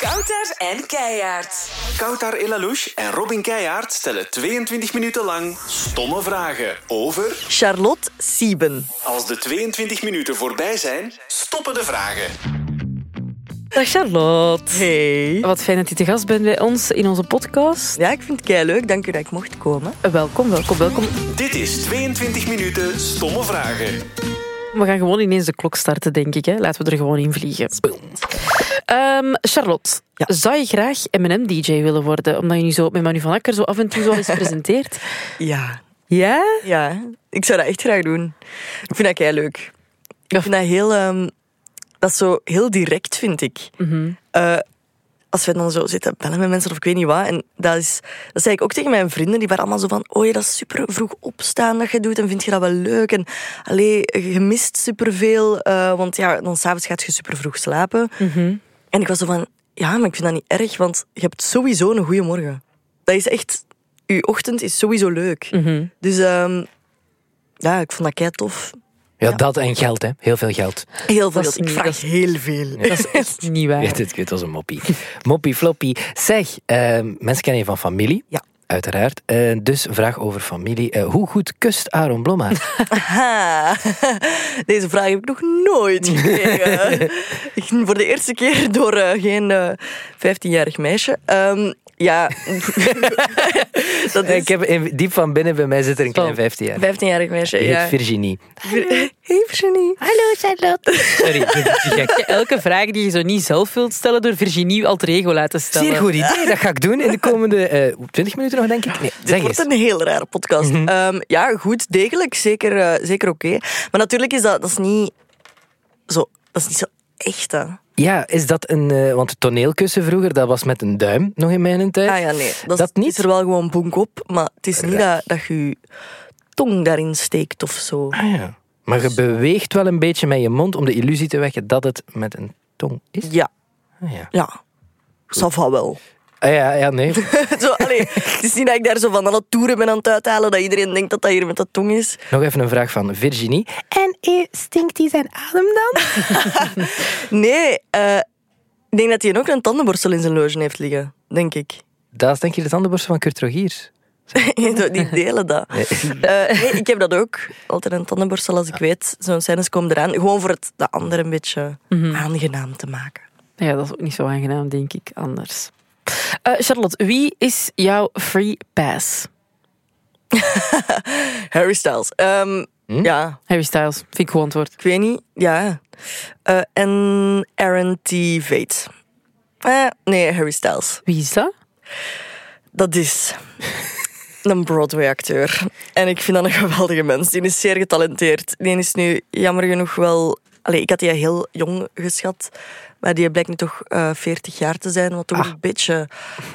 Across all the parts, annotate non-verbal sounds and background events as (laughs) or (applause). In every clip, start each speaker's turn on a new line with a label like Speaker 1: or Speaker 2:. Speaker 1: Kouter en Keijaard.
Speaker 2: Koutar Elalouche en Robin Keijaard stellen 22 minuten lang stomme vragen over...
Speaker 3: Charlotte Sieben.
Speaker 2: Als de 22 minuten voorbij zijn, stoppen de vragen.
Speaker 4: Dag Charlotte.
Speaker 3: Hey.
Speaker 4: Wat fijn dat je te gast bent bij ons in onze podcast.
Speaker 3: Ja, ik vind het kei leuk. Dank u dat ik mocht komen.
Speaker 4: Welkom, welkom, welkom.
Speaker 2: Dit is 22 minuten stomme vragen.
Speaker 4: We gaan gewoon ineens de klok starten, denk ik. Hè. Laten we er gewoon in vliegen. Ehm, Charlotte,
Speaker 3: Ja.
Speaker 4: zou je graag M&M-DJ willen worden? Omdat je nu zo met Manu van Akker zo af en toe zo eens presenteert.
Speaker 3: Ja.
Speaker 4: Ja?
Speaker 3: Ja, ik zou dat echt graag doen. Ik vind dat kei leuk. Ik vind dat heel... ehm, dat is zo heel direct, vind ik. Eh, als we dan zo zitten bellen met mensen of ik weet niet wat. En dat, is, dat zei ik ook tegen mijn vrienden. Die waren allemaal zo van... Oh ja, dat is super vroeg opstaan dat je doet. En vind je dat wel leuk? En allee, je mist superveel. eh want ja, dan s'avonds gaat je super vroeg slapen. En ik was zo van... Ja, maar ik vind dat niet erg. Want je hebt sowieso een goede morgen. Dat is echt... Je ochtend is sowieso leuk.
Speaker 4: Mhm.
Speaker 3: Dus ehm, ja, ik vond dat kei tof.
Speaker 5: Ja, dat en geld, hè. Heel veel geld.
Speaker 3: Heel veel.
Speaker 4: Dat is
Speaker 3: Ik
Speaker 4: niet- dat
Speaker 3: vraag
Speaker 4: is-
Speaker 3: heel veel.
Speaker 4: Dat is echt niet waar.
Speaker 5: Ja, dit, dit was een moppie. Moppie, floppie. Zeg, eh, mensen kennen je van familie.
Speaker 3: Ja.
Speaker 5: Uiteraard. Eh, dus vraag over familie. Eh, hoe goed kust Aaron Blomma?
Speaker 3: (laughs) Ha, (laughs) deze vraag heb ik nog nooit
Speaker 4: (laughs)
Speaker 3: gekregen. Ik- Voor de eerste keer door eh, geen eh, 15-jarig meisje. Ehm, ja, (laughs) dat is
Speaker 5: Eh, Ik heb in- diep van binnen bij mij zit er een klein 15 jaar.
Speaker 3: 15-jarig meisje.
Speaker 5: Die
Speaker 3: Ja.
Speaker 5: heet Virginie.
Speaker 3: Hey Virginie.
Speaker 5: Sorry, dat is te gek.
Speaker 4: Elke vraag die je zo niet zelf wilt stellen, door Virginie alter ego laten stellen.
Speaker 5: (laughs) Zeer goed idee. Dat ga ik doen in de komende eh 20 minuten nog, denk ik. Nee,
Speaker 3: Dit
Speaker 5: zeg
Speaker 3: wordt
Speaker 5: eens.
Speaker 3: een heel rare podcast. Ehm, ja, goed, degelijk. Zeker, eh, zeker oké. Maar natuurlijk is dat, dat is niet zo... Dat is niet zo echt, hè.
Speaker 5: Ja, is dat een... eh, want toneelkussen vroeger, dat was met een duim nog in mijn tijd.
Speaker 3: Ah ja, nee. Dat,
Speaker 5: Dat niet?
Speaker 3: is er wel gewoon bonk op. Maar het is niet dat, dat je je tong daarin steekt of zo.
Speaker 5: Ah ja. Maar je beweegt wel een beetje met je mond om de illusie te wekken dat het met een tong is.
Speaker 3: Ja,
Speaker 5: Ah ja.
Speaker 3: ja. Safa wel. (laughs)
Speaker 5: Ah ja, ja, nee. (laughs)
Speaker 3: Zo, allee, het is niet dat ik daar zo van aan het toeren ben aan het uithalen dat iedereen denkt dat dat hier met dat tong is.
Speaker 5: Nog even een vraag van Virginie. En eh, stinkt hij zijn adem dan?
Speaker 3: Nee, eh, ik denk dat hij ook een tandenborstel in zijn loge heeft liggen, denk ik. (laughs)
Speaker 5: Dat is denk je de tandenborstel van Kurt Rogiers.
Speaker 3: Zo, Die delen dat. Eh, nee, ik heb dat ook. Altijd een tandenborstel als ik weet. Zo'n scènes komen eraan. Gewoon voor het de ander een beetje aangenaam te maken.
Speaker 4: Ja, dat is ook niet zo aangenaam, denk ik, anders. Eh, Charlotte, wie is jouw free pass?
Speaker 3: Harry Styles. Ehm, Ja,
Speaker 4: Harry Styles, vind ik goed antwoord.
Speaker 3: ik weet niet. Ja. Eh, en Aaron T. Veit. Eh, nee, Harry Styles.
Speaker 4: Wie is dat?
Speaker 3: Dat is een Broadway-acteur. En ik vind dat een geweldige mens. Die is zeer getalenteerd. Die is nu jammer genoeg wel... Allee, ik had die heel jong geschat. Maar die blijkt nu toch eh 40 jaar te zijn. Wat toch een beetje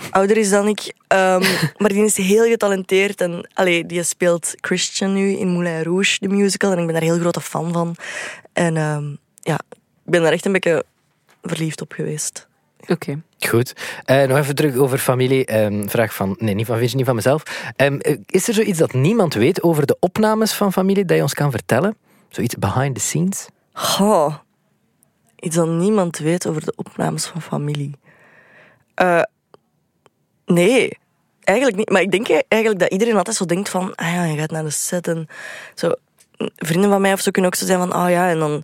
Speaker 3: ouder is dan ik. Ehm, maar die is heel getalenteerd. En allee, die speelt Christian nu in Moulin Rouge, de musical. En ik ben daar heel grote fan van. En ehm, ja, ik ben daar echt een beetje verliefd op geweest.
Speaker 4: Oké.
Speaker 5: (laughs) Goed. Eh, nog even terug over familie. Ehm, vraag van, nee, niet van Virginie, van mezelf. Ehm, eh, is er zoiets dat niemand weet over de opnames van familie dat je ons kan vertellen? Zoiets behind the scenes?
Speaker 3: Goh. Iets dat niemand weet over de opnames van familie. Eh, nee, eigenlijk niet. Maar ik denk eigenlijk dat iedereen altijd zo denkt van... Ah ja, je gaat naar de set en... Zo, vrienden van mij of zo kunnen ook zo zijn van... Ah ja, en dan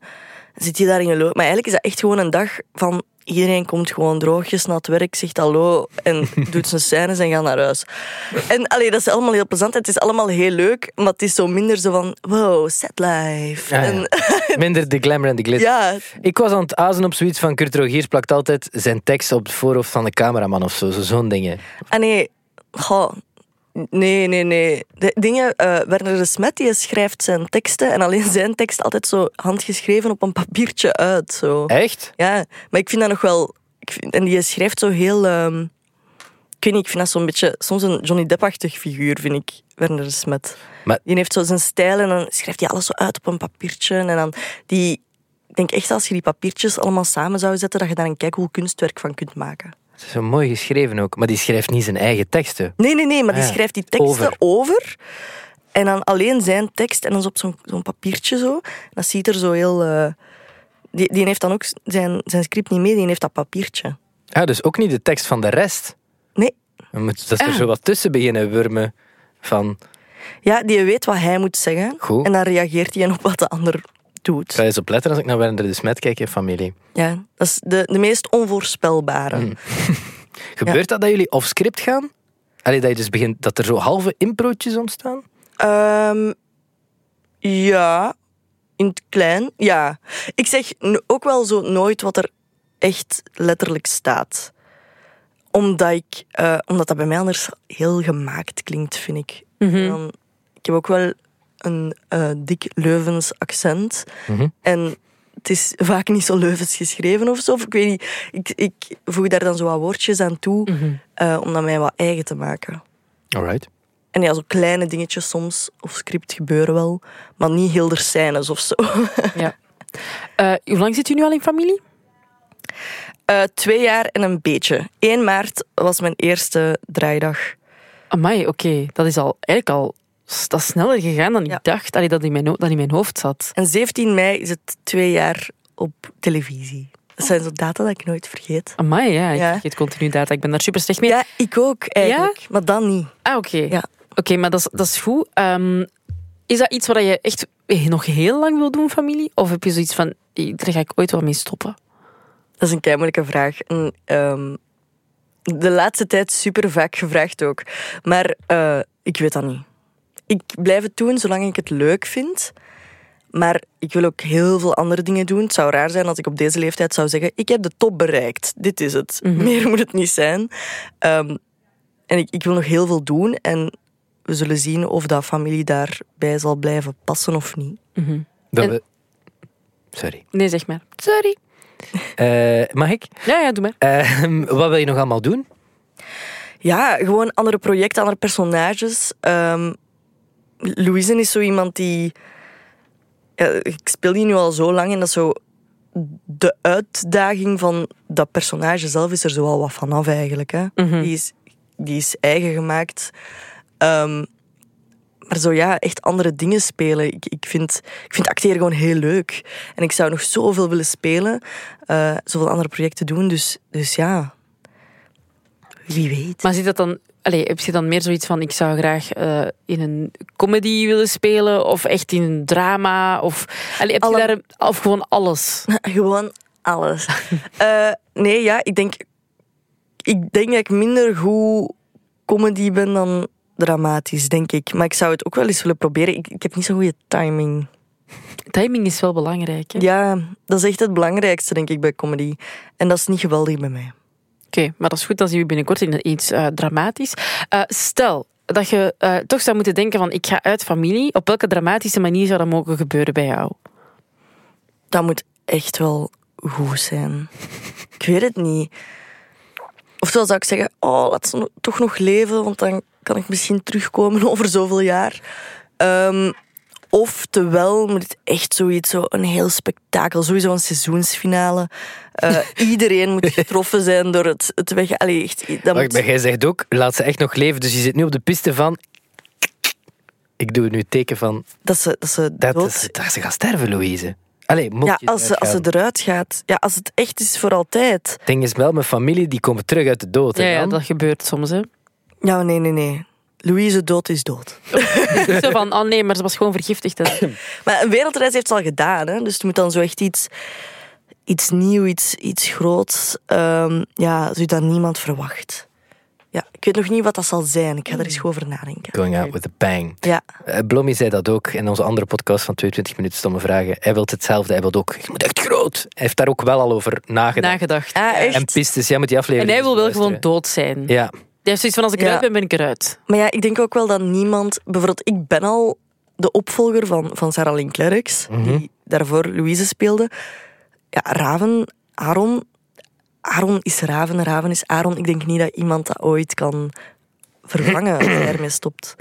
Speaker 3: zit je daar in je loop. Maar eigenlijk is dat echt gewoon een dag van... Iedereen komt gewoon droogjes naar het werk, zegt hallo
Speaker 5: (laughs)
Speaker 3: en doet zijn scènes en gaat naar huis. En allee, dat is allemaal heel plezant. Het is allemaal heel leuk, maar het is zo minder zo van... Wow, set life.
Speaker 5: Ah, ja.
Speaker 3: En-
Speaker 5: Minder de glamour en de glitter.
Speaker 3: (laughs) ja,
Speaker 5: Ik was aan het azen op zoiets van Kurt Rogiers plakt altijd zijn tekst op het voorhoofd van de cameraman of zo. zo- Zo'n dingen.
Speaker 3: Ah nee, goh. Nee, nee, nee. De dingen, eh Werner de Smet die schrijft zijn teksten en alleen zijn tekst altijd zo handgeschreven op een papiertje uit. Zo.
Speaker 5: Echt?
Speaker 3: Ja, maar ik vind dat nog wel... Ik vind, en die schrijft zo heel... ehm, ik weet niet, ik vind dat zo'n beetje... Soms een Johnny Depp-achtig figuur, vind ik, Werner de Smet.
Speaker 5: Maar-
Speaker 3: Die heeft zo zijn stijl en dan schrijft hij alles zo uit op een papiertje. En dan die... Ik denk echt als je die papiertjes allemaal samen zou zetten, dat je daar een keigoed kunstwerk van kunt maken.
Speaker 5: Dat is zo mooi geschreven ook. Maar die schrijft niet zijn eigen teksten.
Speaker 3: Nee, nee, nee, maar die
Speaker 5: Ah ja,
Speaker 3: schrijft die teksten over.
Speaker 5: over.
Speaker 3: En dan alleen zijn tekst en dan zo op zo'n zo'n papiertje zo. Dat ziet er zo heel... eh, die, die heeft dan ook zijn, zijn script niet mee, die heeft dat papiertje.
Speaker 5: Ja, dus ook niet de tekst van de rest.
Speaker 3: Nee.
Speaker 5: Dan moet dat er
Speaker 4: Ah.
Speaker 5: zo wat tussen beginnen wurmen van...
Speaker 3: Ja, die weet wat hij moet zeggen.
Speaker 5: Goed.
Speaker 3: En dan reageert hij op wat de ander doet.
Speaker 5: Ga je eens opletten als ik naar Werner de Smet kijk in familie.
Speaker 3: Ja, dat is de, de meest onvoorspelbare.
Speaker 5: Mhm. Gebeurt dat dat jullie off-script gaan? Allee, dat, je dus begint, dat er zo halve improotjes ontstaan?
Speaker 3: Ehm, ja, in het klein, ja. Ik zeg n- ook wel zo nooit wat er echt letterlijk staat. Omdat, ik, eh, omdat dat bij mij anders heel gemaakt klinkt, vind ik. En dan- ik heb ook wel een eh, dik Leuvens accent.
Speaker 5: Mhm.
Speaker 3: En het is vaak niet zo Leuvens geschreven of zo. Of ik weet niet, ik, ik voeg daar dan zo wat woordjes aan toe eh, om dat mij wat eigen te maken.
Speaker 5: Alright.
Speaker 3: En ja, zo kleine dingetjes soms, of script gebeuren wel, maar niet heel er scènes of zo. (laughs)
Speaker 4: Eh, hoe lang zit u nu al in familie?
Speaker 3: Eh, twee jaar en een beetje. 1 maart was mijn eerste draaidag.
Speaker 4: Amai, oké. Dat is al, eigenlijk al s- dat is sneller gegaan dan
Speaker 3: Ja.
Speaker 4: ik dacht. Allee, dat, in mijn, ho- dat in mijn hoofd zat.
Speaker 3: En 17 mei is het twee jaar op televisie. Dat zijn zo data dat ik nooit vergeet.
Speaker 4: Amai, ja. Ik
Speaker 3: Ja.
Speaker 4: vergeet continu data. Ik ben daar super slecht mee.
Speaker 3: Ja, ik ook eigenlijk, maar dan niet.
Speaker 4: Ah, oké.
Speaker 3: Ja.
Speaker 4: Oké, maar dat is, dat is goed. Ehm, is dat iets wat je echt nog heel lang wil doen, familie? Of heb je zoiets van, eh, daar ga ik ooit wel mee stoppen?
Speaker 3: Dat is een keimoeilijke vraag. En, ehm, de laatste tijd super vaak gevraagd ook. Maar eh, ik weet dat niet. Ik blijf het doen zolang ik het leuk vind. Maar ik wil ook heel veel andere dingen doen. Het zou raar zijn als ik op deze leeftijd zou zeggen: Ik heb de top bereikt. Dit is het. Meer moet het niet zijn. Ehm, en ik, ik wil nog heel veel doen. En we zullen zien of dat familie daarbij zal blijven passen of niet.
Speaker 5: Dat
Speaker 4: En-
Speaker 5: we... Sorry.
Speaker 4: Nee, zeg maar. Sorry.
Speaker 5: Eh, mag ik?
Speaker 4: Ja, ja, doe maar.
Speaker 5: Ehm, wat wil je nog allemaal doen?
Speaker 3: Ja, gewoon andere projecten, andere personages. Ehm Louise is zo iemand die. Ja, ik speel die nu al zo lang en dat is zo. De uitdaging van dat personage zelf is er zo al wat vanaf eigenlijk. Hè? die, is, die is eigen gemaakt. Ehm, maar zo ja, echt andere dingen spelen. Ik, ik, vind, ik vind acteren gewoon heel leuk. En ik zou nog zoveel willen spelen, eh, zoveel andere projecten doen. Dus, dus ja, wie weet.
Speaker 4: Maar zit dat dan, allez, heb je dan meer zoiets van, ik zou graag eh, in een comedy willen spelen? Of echt in een drama? Of, allee, heb je
Speaker 3: Alle-
Speaker 4: daar, een- of gewoon alles?
Speaker 3: (laughs) Gewoon alles. Eh, nee, ja, ik denk, ik denk dat ik minder goed comedy ben dan dramatisch, denk ik. Maar ik zou het ook wel eens willen proberen. Ik, ik heb niet zo'n goede timing.
Speaker 4: (laughs) Timing is wel belangrijk. hè?
Speaker 3: Ja, dat is echt het belangrijkste, denk ik, bij comedy. En dat is niet geweldig bij mij.
Speaker 4: Oké, maar dat is goed. Dan zien we binnenkort in iets eh, dramatisch. Eh, stel dat je eh, toch zou moeten denken van, ik ga uit familie. Op welke dramatische manier zou dat mogen gebeuren bij jou?
Speaker 3: Dat moet echt wel goed zijn. Ik weet het niet. Oftewel zou ik zeggen, oh, laat ze no- toch nog leven, want dan kan ik misschien terugkomen (laughs) over zoveel jaar. Ehm, oftewel moet het echt zoiets, zo een heel spektakel, sowieso een seizoensfinale.
Speaker 5: (laughs)
Speaker 3: Eh, iedereen moet getroffen zijn door het, het weg... Allee, echt, dat
Speaker 5: Wacht,
Speaker 3: moet...
Speaker 5: maar jij zegt ook, laat ze echt nog leven. Dus je zit nu op de piste van... Ik doe nu het teken van...
Speaker 3: Dat ze, dat ze
Speaker 5: Dat,
Speaker 3: dood-
Speaker 5: is, dat ze gaat sterven, Louise. Allee, mocht
Speaker 3: Ja,
Speaker 5: je
Speaker 3: als ze, als ze
Speaker 5: uitgaan.
Speaker 3: eruit gaat. Ja, als het echt is voor altijd.
Speaker 5: Het ding is wel, mijn familie die komen terug uit de dood. hè,
Speaker 4: Ja, ja,
Speaker 5: Jan?
Speaker 4: dat gebeurt soms. (laughs) Hè.
Speaker 3: Ja, nee, nee, nee. Louise dood is dood.
Speaker 4: Niet zo van, oh nee, maar ze was gewoon vergiftigd. (laughs) hè.
Speaker 3: Maar een wereldreis heeft ze al gedaan, hè. Dus het moet dan zo echt iets... Iets nieuw, iets, iets groots. Ehm, ja, zoiets dat niemand verwacht. Ja, ik weet nog niet wat dat zal zijn. Ik ga er eens goed over nadenken.
Speaker 5: Going out with a bang.
Speaker 3: Ja.
Speaker 5: Eh, Blommy zei dat ook in onze andere podcast van 22 minuten stomme vragen. Hij wil hetzelfde, hij wil ook... Je moet echt groot. Hij heeft daar ook wel al over nagedacht.
Speaker 4: Nagedacht.
Speaker 3: Ah, echt?
Speaker 5: en pistes, jij moet die aflevering
Speaker 4: En hij wil wel
Speaker 5: eens
Speaker 4: gewoon
Speaker 5: beluisteren.
Speaker 4: dood zijn.
Speaker 5: Ja,
Speaker 4: Hij heeft zoiets van, als ik
Speaker 3: Ja.
Speaker 4: eruit ben, ben ik eruit.
Speaker 3: Maar ja, ik denk ook wel dat niemand... Bijvoorbeeld, ik ben al de opvolger van, van Sarah Lynn Clerks, die daarvoor Louise speelde. Ja, Raven, Aaron... Aaron is Raven, Raven is Aaron. Ik denk niet dat iemand dat ooit kan vervangen als hij ermee stopt.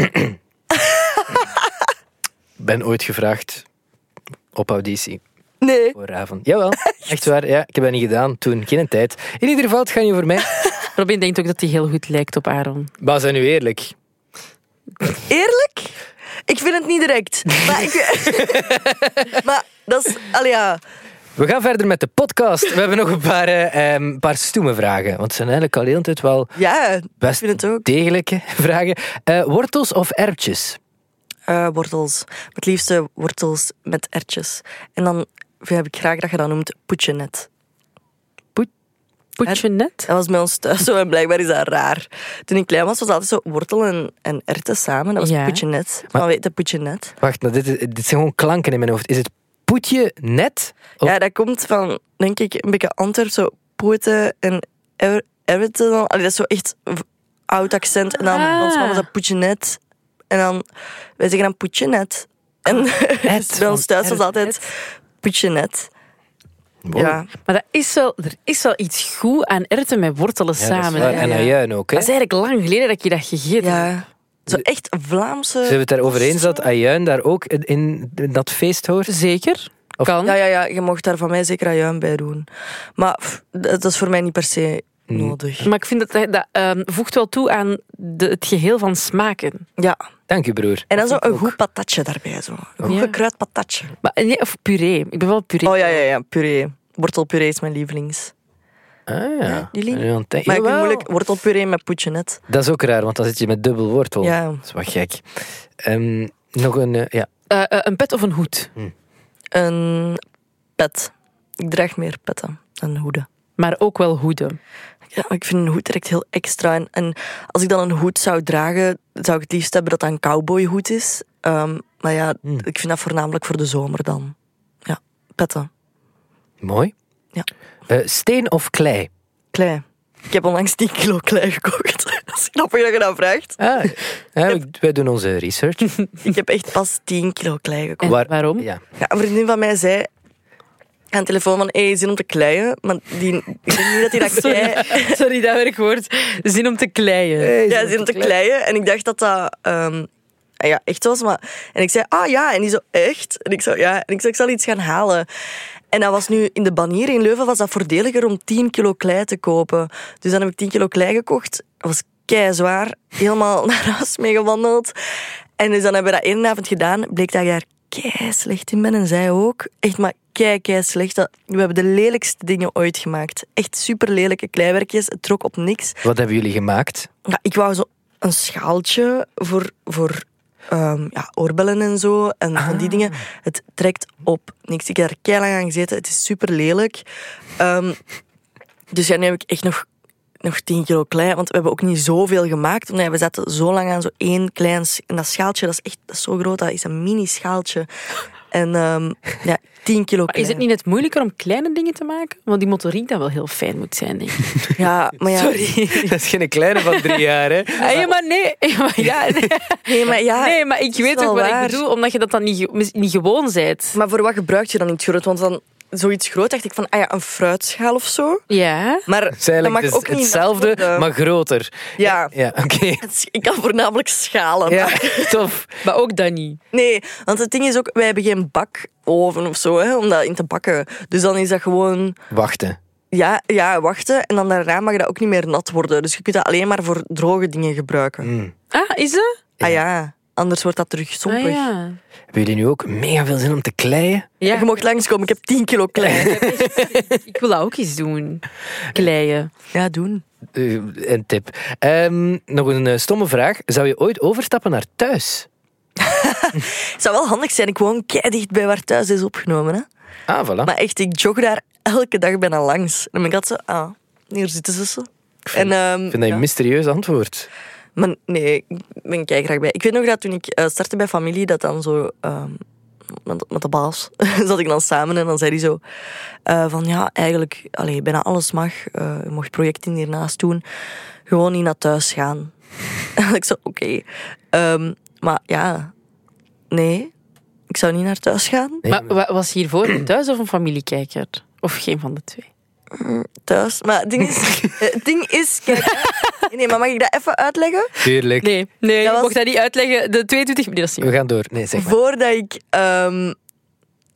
Speaker 5: ben ooit gevraagd op auditie.
Speaker 3: Nee.
Speaker 5: Voor Raven.
Speaker 3: (laughs)
Speaker 5: Jawel, echt waar. Ja, ik heb dat niet gedaan toen. Geen tijd. In ieder geval, het gaat niet over mij.
Speaker 4: Robin denkt ook dat hij heel goed lijkt op Aaron.
Speaker 5: Maar zijn nu eerlijk?
Speaker 3: Eerlijk? (laughs) Ik vind het niet direct. Maar, ik, maar dat is... Allee, ja.
Speaker 5: We gaan verder met de podcast. We hebben nog een paar, eh, ehm, paar stoeme vragen. Want het zijn eigenlijk al de hele tijd wel
Speaker 3: Ja,
Speaker 5: best
Speaker 3: Ik vind het ook.
Speaker 5: degelijke (laughs) vragen. Eh, wortels of erwtjes?
Speaker 3: eh, wortels. Het liefste wortels met ertjes. En dan heb ik graag dat je dat noemt poetjenet.
Speaker 4: Poetje net.
Speaker 3: Dat was bij ons thuis zo en blijkbaar is dat raar. Toen ik klein was, was dat altijd zo wortel en, en erwten samen. Dat was
Speaker 4: Ja.
Speaker 3: poetjenet. Maar weet je, poetjenet?
Speaker 5: Wacht, maar dit, is- dit zijn gewoon klanken in mijn hoofd. Is het poetje net? Of-
Speaker 3: Ja, dat komt van, denk ik, een beetje Antwerp, zo poeten en er- erwten. dan. Allee, dat is zo echt v- oud accent. En dan
Speaker 4: Ah.
Speaker 3: bij ons mama dat poetjenet. En dan, wij zeggen dan poetjenet. En (laughs) dus bij
Speaker 5: van
Speaker 3: ons thuis was
Speaker 5: erwt,
Speaker 3: altijd poetjenet.
Speaker 5: Wow.
Speaker 3: Ja.
Speaker 4: Maar dat is wel, er is wel iets goed aan erwten met wortelen
Speaker 5: Ja, dat is
Speaker 4: samen.
Speaker 5: waar.
Speaker 4: hè.
Speaker 5: En aan juin ook, hè?
Speaker 4: Dat is eigenlijk lang geleden dat je dat gegeten hebt.
Speaker 3: Ja. Zo echt Vlaamse...
Speaker 5: Zullen we het daarover eens dat Ajuin daar ook in- in dat feest hoort?
Speaker 4: Zeker.
Speaker 5: Of-
Speaker 4: kan.
Speaker 3: Ja, ja, ja, je mocht daar van mij zeker ajuin bij doen. Maar pff, dat is voor mij niet per se
Speaker 5: Mm.
Speaker 3: nodig.
Speaker 4: Maar ik vind dat dat, dat, ehm, voegt wel toe aan de, het geheel van smaken.
Speaker 3: Ja.
Speaker 5: Dank u, broer.
Speaker 3: En dan zo een goed patatje daarbij. Zo. Een goed
Speaker 4: Ja.
Speaker 3: gekruid patatje.
Speaker 4: Maar, eh, nee, of puree. Ik ben wel puree.
Speaker 3: Oh ja, ja, ja, puree. Wortelpuree is mijn lievelings.
Speaker 5: Ah, ja.
Speaker 3: jullie?
Speaker 5: En dan denk-
Speaker 3: Maar ik vind
Speaker 5: Jawel.
Speaker 3: moeilijk wortelpuree met poetje net.
Speaker 5: Dat is ook raar, want dan zit je met dubbel wortel.
Speaker 3: Ja.
Speaker 5: Dat is wat gek. Ehm, nog een, eh, ja.
Speaker 4: Eh, eh, een pet of een hoed.
Speaker 3: Een pet. Ik draag meer petten dan hoeden.
Speaker 4: Maar ook wel hoeden.
Speaker 3: Ja, maar ik vind een hoed direct heel extra. En, en als ik dan een hoed zou dragen, zou ik het liefst hebben dat dat een cowboyhoed is. Ehm, maar ja, ik vind dat voornamelijk voor de zomer dan. Ja, petten.
Speaker 5: Mooi.
Speaker 3: Ja.
Speaker 5: Eh, steen of klei?
Speaker 3: Klei. Ik heb onlangs 10 kilo klei gekocht. (laughs) Dat is grappig dat je dat vraagt.
Speaker 5: Ah, (laughs) ja, we- wij doen
Speaker 3: (laughs)
Speaker 5: onze research.
Speaker 3: Ik heb echt pas 10 kilo klei gekocht.
Speaker 4: En
Speaker 5: Waar-
Speaker 4: waarom?
Speaker 5: Ja.
Speaker 3: Ja, een vriendin van mij zei aan de telefoon van, hey, zin om te kleien. Maar die, ik denk niet dat hij dat klei...
Speaker 4: (laughs) Sorry, dat werkwoord. Zin om te kleien.
Speaker 3: Ja, zin om te kleien. En ik dacht dat dat ehm, ja, echt was. Maar... En ik zei, ah ja. En die zo, echt? En ik zo, ja. En ik zei, ik zal iets gaan halen. En dat was nu in de banier in Leuven was dat voordeliger om 10 kilo klei te kopen. Dus dan heb ik 10 kilo klei gekocht. Dat was kei zwaar. Helemaal (laughs) naar huis mee gewandeld. En dus dan hebben we dat één avond gedaan. Bleek dat ik daar kei slecht in ben. En zij ook. Echt maar kei, kei slecht. Dat- We hebben de lelijkste dingen ooit gemaakt. Echt super lelijke kleiwerkjes. Het trok op niks.
Speaker 5: Wat hebben jullie
Speaker 3: (laughs)
Speaker 5: gemaakt?
Speaker 3: Ja, ik wou zo een schaaltje voor, voor ehm, ja, oorbellen en zo. En van die dingen. Het trekt op niks. Ik heb er keihard aan gezeten. Het is super lelijk. Ehm, dus ja, nu heb ik echt nog, nog 10 kilo klei. Want we hebben ook niet zoveel gemaakt. Nee, we zaten zo lang aan zo één klein... sch- En dat schaaltje, dat is echt dat is zo groot. Dat is een mini schaaltje. En ehm, ja, 10 kilo
Speaker 4: Maar
Speaker 3: klei.
Speaker 4: is het niet net moeilijker om kleine dingen te maken? Want die motoriek dan wel heel fijn moet zijn, denk ik.
Speaker 3: Ja, maar ja,
Speaker 5: Dat is geen kleine van drie jaar, hè?
Speaker 4: Ah, ja, maar nee. (laughs) Ja, maar ja, nee.
Speaker 3: Nee, maar ja...
Speaker 4: nee, maar ik
Speaker 3: is
Speaker 4: weet ook
Speaker 3: wel
Speaker 4: wat ik
Speaker 3: waar.
Speaker 4: bedoel, omdat je dat dan niet, ge- niet gewoon bent.
Speaker 3: Maar voor wat gebruik je dan iets groot? Want dan zoiets groot dacht ik van, ah ja, een fruitschaal of zo.
Speaker 4: Ja.
Speaker 3: Maar
Speaker 5: Het is eigenlijk
Speaker 3: dat mag
Speaker 5: dus
Speaker 3: ook niet
Speaker 5: hetzelfde,
Speaker 3: nat worden.
Speaker 5: maar groter.
Speaker 3: Ja.
Speaker 5: Ja, oké.
Speaker 3: (laughs) Het is- Ik kan voornamelijk schalen.
Speaker 5: Ja, tof.
Speaker 4: Maar ook dat niet.
Speaker 3: Nee, want het ding is ook, wij hebben geen bakoven of zo, hè, om dat in te bakken. Dus dan is dat gewoon,
Speaker 5: Wachten.
Speaker 3: ja, ja, wachten. En dan daarna mag dat ook niet meer nat worden. Dus je kunt dat alleen maar voor droge dingen gebruiken.
Speaker 5: Mm.
Speaker 4: Ah, is dat?
Speaker 3: Ah ja, anders wordt dat terug
Speaker 4: Ah,
Speaker 3: zompig.
Speaker 4: ja.
Speaker 5: Hebben jullie nu ook mega veel zin om te kleien?
Speaker 4: ja.
Speaker 3: Je mocht langskomen, ik heb 10 kilo klein.
Speaker 4: Ik wil dat ook eens doen. Kleien.
Speaker 3: Ja, doen.
Speaker 5: Eh, een tip. Ehm, nog een eh, stomme vraag. Zou je ooit overstappen naar thuis?
Speaker 3: Het zou wel handig zijn, ik woon kei dicht bij waar thuis is opgenomen. Hè.
Speaker 5: Ah, voilà.
Speaker 3: Maar echt, ik jog daar elke dag bijna langs. En dan ben ik altijd zo, ah, hier zitten ze zo. En, ehm,
Speaker 5: Ik vind dat
Speaker 3: ja.
Speaker 5: een mysterieus antwoord.
Speaker 3: Maar nee, ik ben graag bij. Ik weet nog dat toen ik eh, startte bij familie, dat dan zo... ehm, met, met de baas (laughs) zat ik dan samen en dan zei hij zo... eh, van ja, eigenlijk, allee, bijna alles mag. Eh, je mocht projecten hiernaast doen. Gewoon niet naar thuis gaan. (laughs) En ik zo, oké. Ehm, maar ja, nee. Ik zou niet naar thuis gaan.
Speaker 5: Nee,
Speaker 4: Maar wa- was hiervoor een thuis of een familiekijker? Of geen van de twee?
Speaker 3: Thuis. Maar het ding
Speaker 5: (laughs)
Speaker 3: is... eh, het ding is... Kijk, hè. nee, maar mag ik dat even uitleggen?
Speaker 5: Tuurlijk.
Speaker 4: Nee, nee
Speaker 3: Dat
Speaker 4: je
Speaker 3: was-
Speaker 4: mocht dat niet uitleggen. De 22 minuten, dat is niet
Speaker 5: We gaan door. Nee, zeg maar.
Speaker 3: Voordat ik ehm,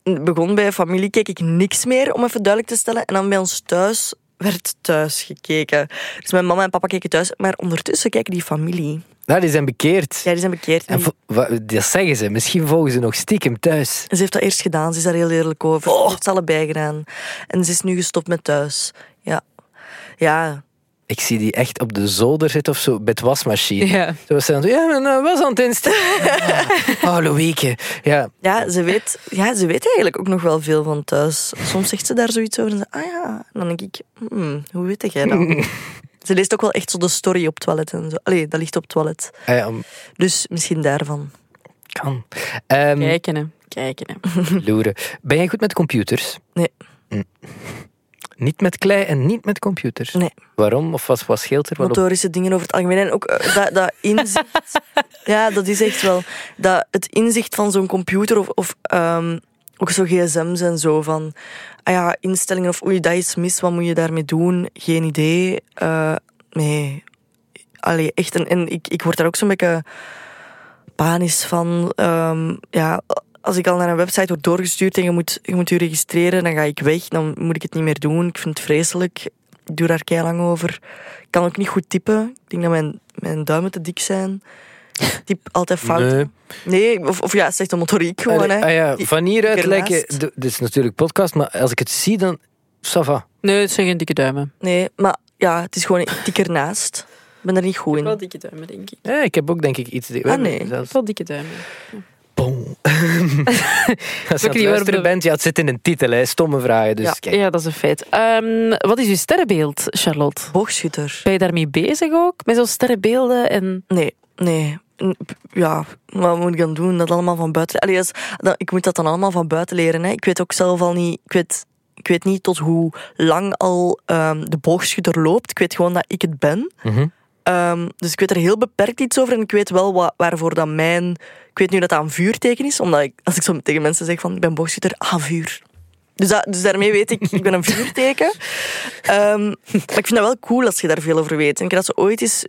Speaker 3: begon bij familie, keek ik niks meer, om even duidelijk te stellen. En dan bij ons thuis werd thuis gekeken. Dus mijn mama en papa keken thuis, maar ondertussen kijken die familie.
Speaker 5: Nou, die zijn bekeerd.
Speaker 3: Ja, die zijn bekeerd.
Speaker 5: En
Speaker 3: En
Speaker 5: vo- wa- dat zeggen ze. Misschien volgen ze nog stiekem thuis.
Speaker 3: ze heeft dat eerst gedaan, ze is daar heel eerlijk over.
Speaker 5: Oh.
Speaker 3: Ze heeft ze allebei gedaan. En ze is nu gestopt met thuis. Ja. Ja.
Speaker 5: Ik zie die echt op de zolder zitten of zo, bij het wasmachine.
Speaker 4: Ja.
Speaker 5: Zo was ze dan zo, ja, mijn eh, was aan het instellen. (laughs) oh, Loïke. Ja,
Speaker 3: Ja, ze weet, ja, ze weet eigenlijk ook nog wel veel van thuis. Soms zegt ze daar zoiets over en ze, ah ja. En dan denk ik, hmm, hoe weet jij dat? ze leest ook wel echt zo de story op het toilet en zo. Allee, dat ligt op het toilet.
Speaker 5: ah ja, om-
Speaker 3: Dus misschien daarvan.
Speaker 5: kan. Ehm,
Speaker 4: Kijken, hè. Kijken, hè.
Speaker 5: (laughs) loeren. Ben jij goed met computers?
Speaker 3: Nee.
Speaker 5: Hm. Niet met klei en niet met computers?
Speaker 3: Nee.
Speaker 5: Waarom? Of wat, wat scheelt er? Wat op-
Speaker 3: motorische dingen over het algemeen. En ook eh, dat, dat inzicht. ja, dat is echt wel. Dat het inzicht van zo'n computer of, of ehm, ook zo gsm's en zo van. Ah ja, instellingen of oei, dat is mis, wat moet je daarmee doen? Geen idee. Eh, nee. Allee, echt. En, en ik, ik word daar ook zo'n beetje panisch van. Ehm, ja, als ik al naar een website word doorgestuurd en je moet je, moet je registreren, dan ga ik weg. Dan moet ik het niet meer doen. Ik vind het vreselijk. Ik doe daar kei lang over. Ik kan ook niet goed typen. Ik denk dat mijn, mijn duimen te dik zijn. Ik Typ altijd fout.
Speaker 5: Nee.
Speaker 3: Nee, of, of ja, het is echt een motoriek gewoon.
Speaker 5: Allee,
Speaker 3: hè.
Speaker 5: ah ja,
Speaker 3: Die-
Speaker 5: van hieruit
Speaker 3: die
Speaker 5: lijken...
Speaker 3: ernaast.
Speaker 5: d- Dit is natuurlijk podcast, maar als ik het zie, dan... Ça va.
Speaker 4: Nee, het zijn geen dikke duimen.
Speaker 3: Nee, maar ja, het is gewoon een tik ernaast. Ik ben er niet goed in.
Speaker 4: dikke duimen, denk ik.
Speaker 5: Ja, ik heb ook denk ik iets... we hebben
Speaker 3: Ah, nee.
Speaker 5: zelfs-
Speaker 4: Wel dikke duimen.
Speaker 3: (laughs)
Speaker 5: Boom. (laughs) Als je
Speaker 4: waarom
Speaker 5: aan het luisteren
Speaker 4: we-
Speaker 5: bent, ja, het zit in een titel, hè. stomme vragen. Dus
Speaker 3: Ja.
Speaker 5: kijk.
Speaker 4: Ja, dat is een feit. Ehm, wat is uw sterrenbeeld, Charlotte?
Speaker 3: Boogschutter.
Speaker 4: Ben je daarmee bezig ook? Met zo'n sterrenbeelden en...
Speaker 3: Nee, nee. N- Ja, wat moet ik dan doen? Dat allemaal van buiten. Allee, dat is- dat, ik moet dat dan allemaal van buiten leren. Hè. Ik weet ook zelf al niet. Ik weet, ik weet niet tot hoe lang al ehm, de boogschutter loopt. Ik weet gewoon dat ik het ben.
Speaker 5: Mhm.
Speaker 3: Ehm, dus ik weet er heel beperkt iets over en ik weet wel wa- waarvoor dat mijn... Ik weet nu dat dat een vuurteken is, omdat ik, als ik zo tegen mensen zeg van ik ben boogschutter, ah, vuur. Dus, dat, dus daarmee weet ik, ik ben een vuurteken. (laughs) Ehm, maar ik vind dat wel cool als je daar veel over weet. En ik heb dat ze ooit eens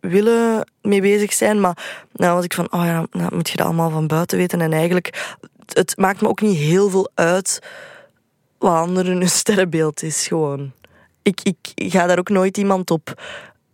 Speaker 3: willen mee bezig zijn, maar nou was ik van, oh ja, nou moet je dat allemaal van buiten weten. En eigenlijk, het- het maakt me ook niet heel veel uit wat anderen hun sterrenbeeld is, gewoon. Ik, ik ga daar ook nooit iemand op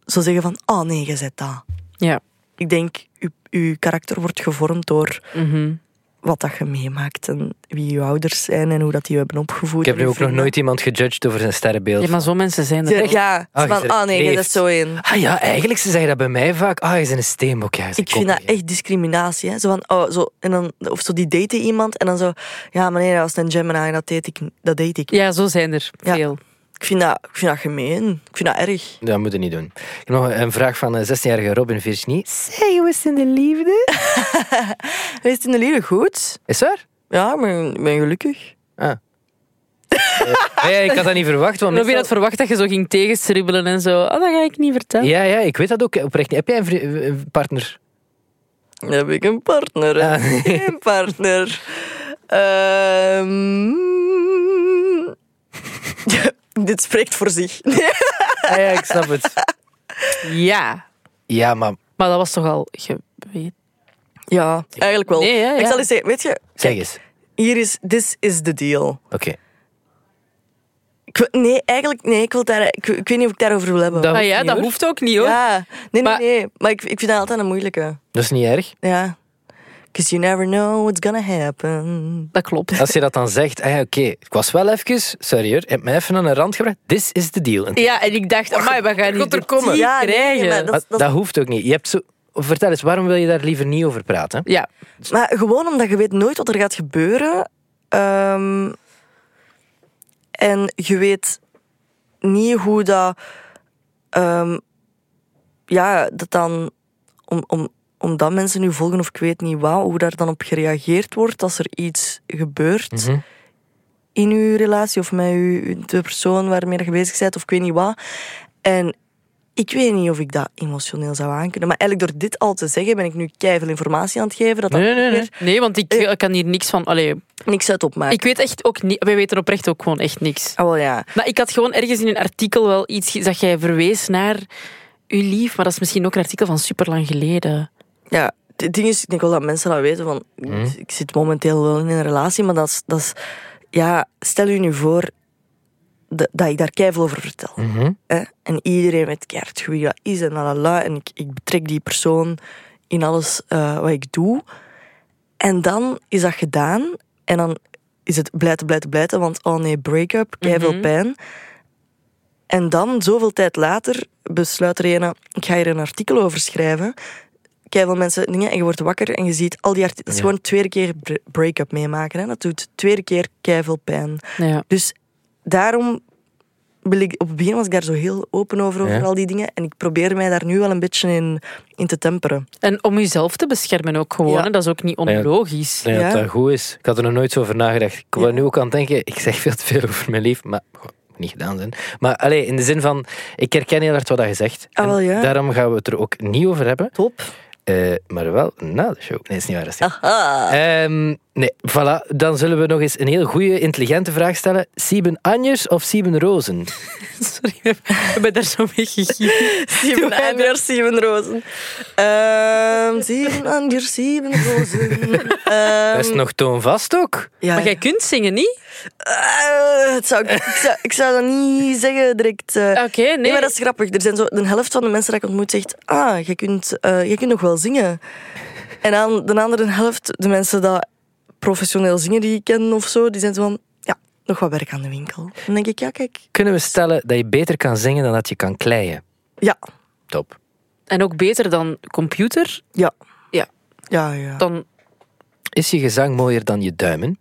Speaker 3: zo zeggen van, oh nee, je zet dat.
Speaker 4: Ja.
Speaker 3: Ik denk, uw, uw karakter wordt gevormd door
Speaker 4: Mhm.
Speaker 3: wat dat je meemaakt en wie je ouders zijn en hoe dat die je hebben opgevoed.
Speaker 5: Ik heb
Speaker 3: en
Speaker 5: nu
Speaker 3: uw
Speaker 5: ook nog
Speaker 3: vrienden.
Speaker 5: nooit iemand gejudged over zijn sterrenbeeld.
Speaker 4: Ja, maar zo mensen zijn er
Speaker 3: Ja,
Speaker 4: echt.
Speaker 3: ja
Speaker 5: Ah, je
Speaker 3: van,
Speaker 5: zet-
Speaker 3: oh nee, je zet
Speaker 5: leeft.
Speaker 3: zo in.
Speaker 5: Ah ja, eigenlijk, ze zeggen dat bij mij vaak. Ah, hij is in een steenbok. Ja, hij is een
Speaker 3: Ik vind dat
Speaker 5: koppig, hè.
Speaker 3: echt discriminatie. Hè? Zo van, oh, zo, en dan, of zo, die daten iemand en dan zo... Ja, maar nee, dat was een Gemini en dat deed ik. Dat deed ik.
Speaker 4: Ja, zo zijn er
Speaker 3: Ja.
Speaker 4: veel.
Speaker 3: Ik, vind dat, ik vind dat gemeen. Ik vind dat erg.
Speaker 5: Dat moet je niet doen. Ik heb nog een vraag van eh, 16-jarige Robin Virginie. Zeg, hoe is het in de liefde?
Speaker 3: Is het in de liefde goed?
Speaker 5: Is waar?
Speaker 3: Ja, ik ben, ik ben gelukkig.
Speaker 5: (laughs) Ah. Eh, ja, ik had dat niet verwacht. Want
Speaker 4: Robin had
Speaker 5: meestal-
Speaker 4: verwacht dat je zo ging tegenstribbelen en zo. Oh, dat ga ik niet vertellen.
Speaker 5: ja, ja, ik weet dat ook eh, oprecht niet. Heb jij een, vri- eh, een partner?
Speaker 3: Dan heb ik een partner. hè. (laughs)
Speaker 5: Ah.
Speaker 3: Geen partner. Ehm. (laughs) Dit spreekt voor zich. (laughs)
Speaker 5: Ah, (laughs) ja, ik snap het.
Speaker 4: Ja.
Speaker 5: Ja, maar
Speaker 4: Maar dat was toch al geweten.
Speaker 3: Ja, eigenlijk wel.
Speaker 4: Nee, ja,
Speaker 3: Ik
Speaker 4: ja.
Speaker 3: zal eens zeggen, weet je,
Speaker 5: zeg eens.
Speaker 3: hier is, this is the deal.
Speaker 5: Oké.
Speaker 3: Ik wil- nee, eigenlijk, nee, ik, wil daar, ik, ik weet niet of ik daarover wil hebben.
Speaker 5: Dat,
Speaker 4: Ah
Speaker 5: hoeft
Speaker 4: ja,
Speaker 5: niet,
Speaker 4: dat
Speaker 5: hoor.
Speaker 4: hoeft ook niet hoor.
Speaker 3: ja, nee, nee,
Speaker 4: Maar-
Speaker 3: nee. Maar ik, ik vind dat altijd een moeilijke.
Speaker 5: dat is niet erg.
Speaker 3: Ja. Because you never know what's gonna happen.
Speaker 4: Dat klopt.
Speaker 5: Als je dat dan zegt, ah ja, oké, ik was wel even, sorry hoor, je hebt mij even aan een rand gebracht. This is the deal. En
Speaker 4: Ja, en ik dacht, amai, we gaan niet
Speaker 5: er komen.
Speaker 4: die
Speaker 3: Ja, nee,
Speaker 4: krijgen.
Speaker 3: maar dat-
Speaker 5: Maar Ah, dat, hoeft ook niet. Je hebt zo... Vertel eens, waarom wil je daar liever niet over praten?
Speaker 4: Ja.
Speaker 3: Maar gewoon omdat je weet nooit wat er gaat gebeuren. Ehm, en je weet niet hoe dat... ehm, ja, dat dan... Om, om, omdat mensen nu volgen of ik weet niet wat, hoe daar dan op gereageerd wordt als er iets gebeurt
Speaker 5: Mhm.
Speaker 3: in uw relatie of met uw, de persoon waarmee dat je bezig bent of ik weet niet wat. En ik weet niet of ik dat emotioneel zou aankunnen. Maar eigenlijk door dit al te zeggen ben ik nu keihard informatie aan het geven dat dat
Speaker 5: Nee, nee,
Speaker 3: ook
Speaker 5: nee.
Speaker 3: weer
Speaker 4: Nee, want ik ik kan hier niks van. Allee,
Speaker 3: niks uit opmaakt.
Speaker 4: ik weet echt ook niet. Wij weten oprecht ook gewoon echt niks.
Speaker 3: Ah, wel ja.
Speaker 4: Maar ik had gewoon ergens in een artikel wel iets ge- dat jij verwees naar uw lief, maar dat is misschien ook een artikel van super lang geleden.
Speaker 3: ja. Het ding is, ik denk wel dat mensen dat weten. Van, Ik zit momenteel wel in een relatie, maar dat is... Dat is ja, stel u nu voor, de- dat ik daar keiveel over vertel.
Speaker 5: Mhm.
Speaker 3: Hè? En iedereen weet keihard wie dat is en lalala. En ik, ik betrek die persoon in alles eh, wat ik doe. En dan is dat gedaan. En dan is het blijten, blijten, blijten. Want oh nee, break-up, keiveel
Speaker 4: Mhm.
Speaker 3: pijn. En dan, zoveel tijd later, besluit er ene... Ik ga hier een artikel over schrijven. Keiveel mensen dingen. En je wordt wakker en je ziet al die artikelen. Dat is
Speaker 5: Ja.
Speaker 3: gewoon de tweede keer bre- break-up meemaken. Hè? Dat doet tweede keer keiveel pijn.
Speaker 4: Ja.
Speaker 3: Dus daarom wil ik, op het begin was ik daar zo heel open over, over
Speaker 5: Ja.
Speaker 3: al die dingen. En ik probeer mij daar nu wel een beetje in, in te temperen.
Speaker 4: En om jezelf te beschermen ook gewoon.
Speaker 3: Ja.
Speaker 4: hè. Dat is ook niet onlogisch.
Speaker 5: Nee, dat
Speaker 3: Ja.
Speaker 5: dat goed is. Ik had er nog nooit zo over nagedacht. Ik was
Speaker 3: Ja.
Speaker 5: nu ook aan het denken, ik zeg veel te veel over mijn leven, maar goh, moet niet gedaan zijn. Maar allee, in de zin van, ik herken heel hard wat je zegt.
Speaker 3: Ah,
Speaker 5: En
Speaker 3: wel, ja.
Speaker 5: Daarom gaan we het er ook niet over hebben.
Speaker 3: Top.
Speaker 5: Eh, maar wel na de show. Nee, is niet waar. dat is
Speaker 3: (laughs)
Speaker 5: niet
Speaker 3: Aha.
Speaker 5: waar. Ehm, nee, voilà. Dan zullen we nog eens een heel goede, intelligente vraag stellen. Sieben Anjers of Sieben Rozen?
Speaker 4: (laughs) Sorry, we ben daar zo mee gegierd.
Speaker 3: Steven Anders, Steven Rozen. Ehm Steven Anders, Steven Rozen.
Speaker 5: (laughs) dat is
Speaker 3: Ehm,
Speaker 5: nog toonvast ook.
Speaker 3: ja.
Speaker 4: Maar jij kunt zingen, niet?
Speaker 3: Eh, het zou, ik, zou, ik zou dat niet zeggen direct. eh.
Speaker 4: Oké, nee.
Speaker 3: Nee, maar dat is grappig. Er zijn zo, de helft van de mensen die ik ontmoet zegt... Ah, je kunt, eh, jij kunt nog wel zingen. En aan de andere helft, de mensen die professioneel zingen die ik ken of zo, die zijn zo van... Ja, nog wat werk aan de winkel. Dan denk ik, ja, kijk.
Speaker 5: Kunnen we stellen dat je beter kan zingen dan dat je kan kleien?
Speaker 3: Ja,
Speaker 5: Top.
Speaker 4: En ook beter dan computer.
Speaker 3: ja.
Speaker 4: Ja.
Speaker 3: Ja, ja.
Speaker 4: Dan
Speaker 5: Is je gezang mooier dan je duimen?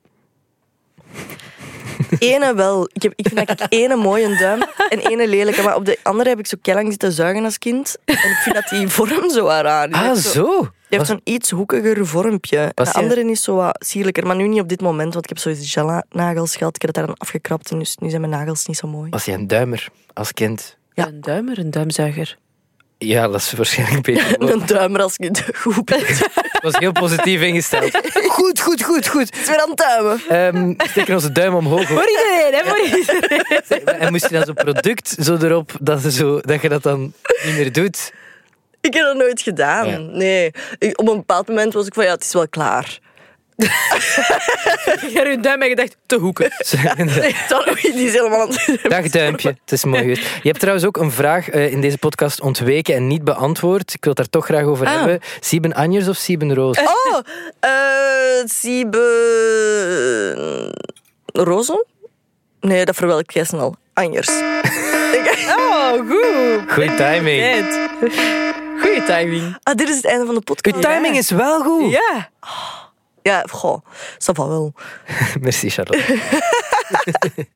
Speaker 3: Ene wel. Ik, heb, ik vind dat ik ene mooie duim en ene lelijke. Maar op de andere heb ik zo keilang zitten zuigen als kind. En ik vind dat die vorm zo raar. Die
Speaker 5: Ah,
Speaker 3: heeft zo-
Speaker 5: zo.
Speaker 3: Je hebt
Speaker 5: Was-
Speaker 3: zo'n iets hoekiger vormpje. En
Speaker 5: Was
Speaker 3: de
Speaker 5: je-
Speaker 3: andere is zo wat sierlijker. Maar nu niet op dit moment, want ik heb zoiets gel-nagels gehad. Ik heb dat daar dan afgekrapt en dus nu zijn mijn nagels niet zo mooi.
Speaker 5: Was jij een duimer als kind?
Speaker 3: Ja.
Speaker 4: een duimer, een duimzuiger.
Speaker 5: Ja, dat is waarschijnlijk beter. woord.
Speaker 3: Een duimer als ik het goed
Speaker 5: (laughs)
Speaker 3: ben. Het
Speaker 5: Het was heel positief ingesteld. (laughs) Goed, goed, goed, goed.
Speaker 3: is weer aan het duimen.
Speaker 5: Ehm steken onze duim omhoog. hoor.
Speaker 4: iedereen, hè? Voor iedereen.
Speaker 5: En moest je dan zo'n product zo erop dat, ze zo, dat je dat dan niet meer doet?
Speaker 3: Ik heb dat nooit gedaan.
Speaker 5: Ja.
Speaker 3: Nee. Ik- op een bepaald moment was ik van, ja, het is wel
Speaker 5: (laughs)
Speaker 3: klaar.
Speaker 4: (laughs) Ik heb je duim en gedacht, te hoeken.
Speaker 3: Dan, oh, die is helemaal aan het...
Speaker 5: (laughs) Dag duimpje, het is mooi geweest. Je hebt trouwens ook een vraag eh, in deze podcast ontweken en niet beantwoord. Ik wil het daar toch graag over
Speaker 4: Ah.
Speaker 5: hebben. Sieben Anjers of Sieben Roos?
Speaker 3: Oh! eh Siebe... Rozen? Nee, dat verwelk jij snel. Anjers.
Speaker 4: Oh, goed.
Speaker 5: Goeie timing.
Speaker 4: Net. Goeie timing.
Speaker 3: Ah, dit is het einde van de podcast.
Speaker 5: Uw timing is wel goed.
Speaker 4: Ja.
Speaker 3: Ja, goh. Ça va wel.
Speaker 5: Merci Charlotte.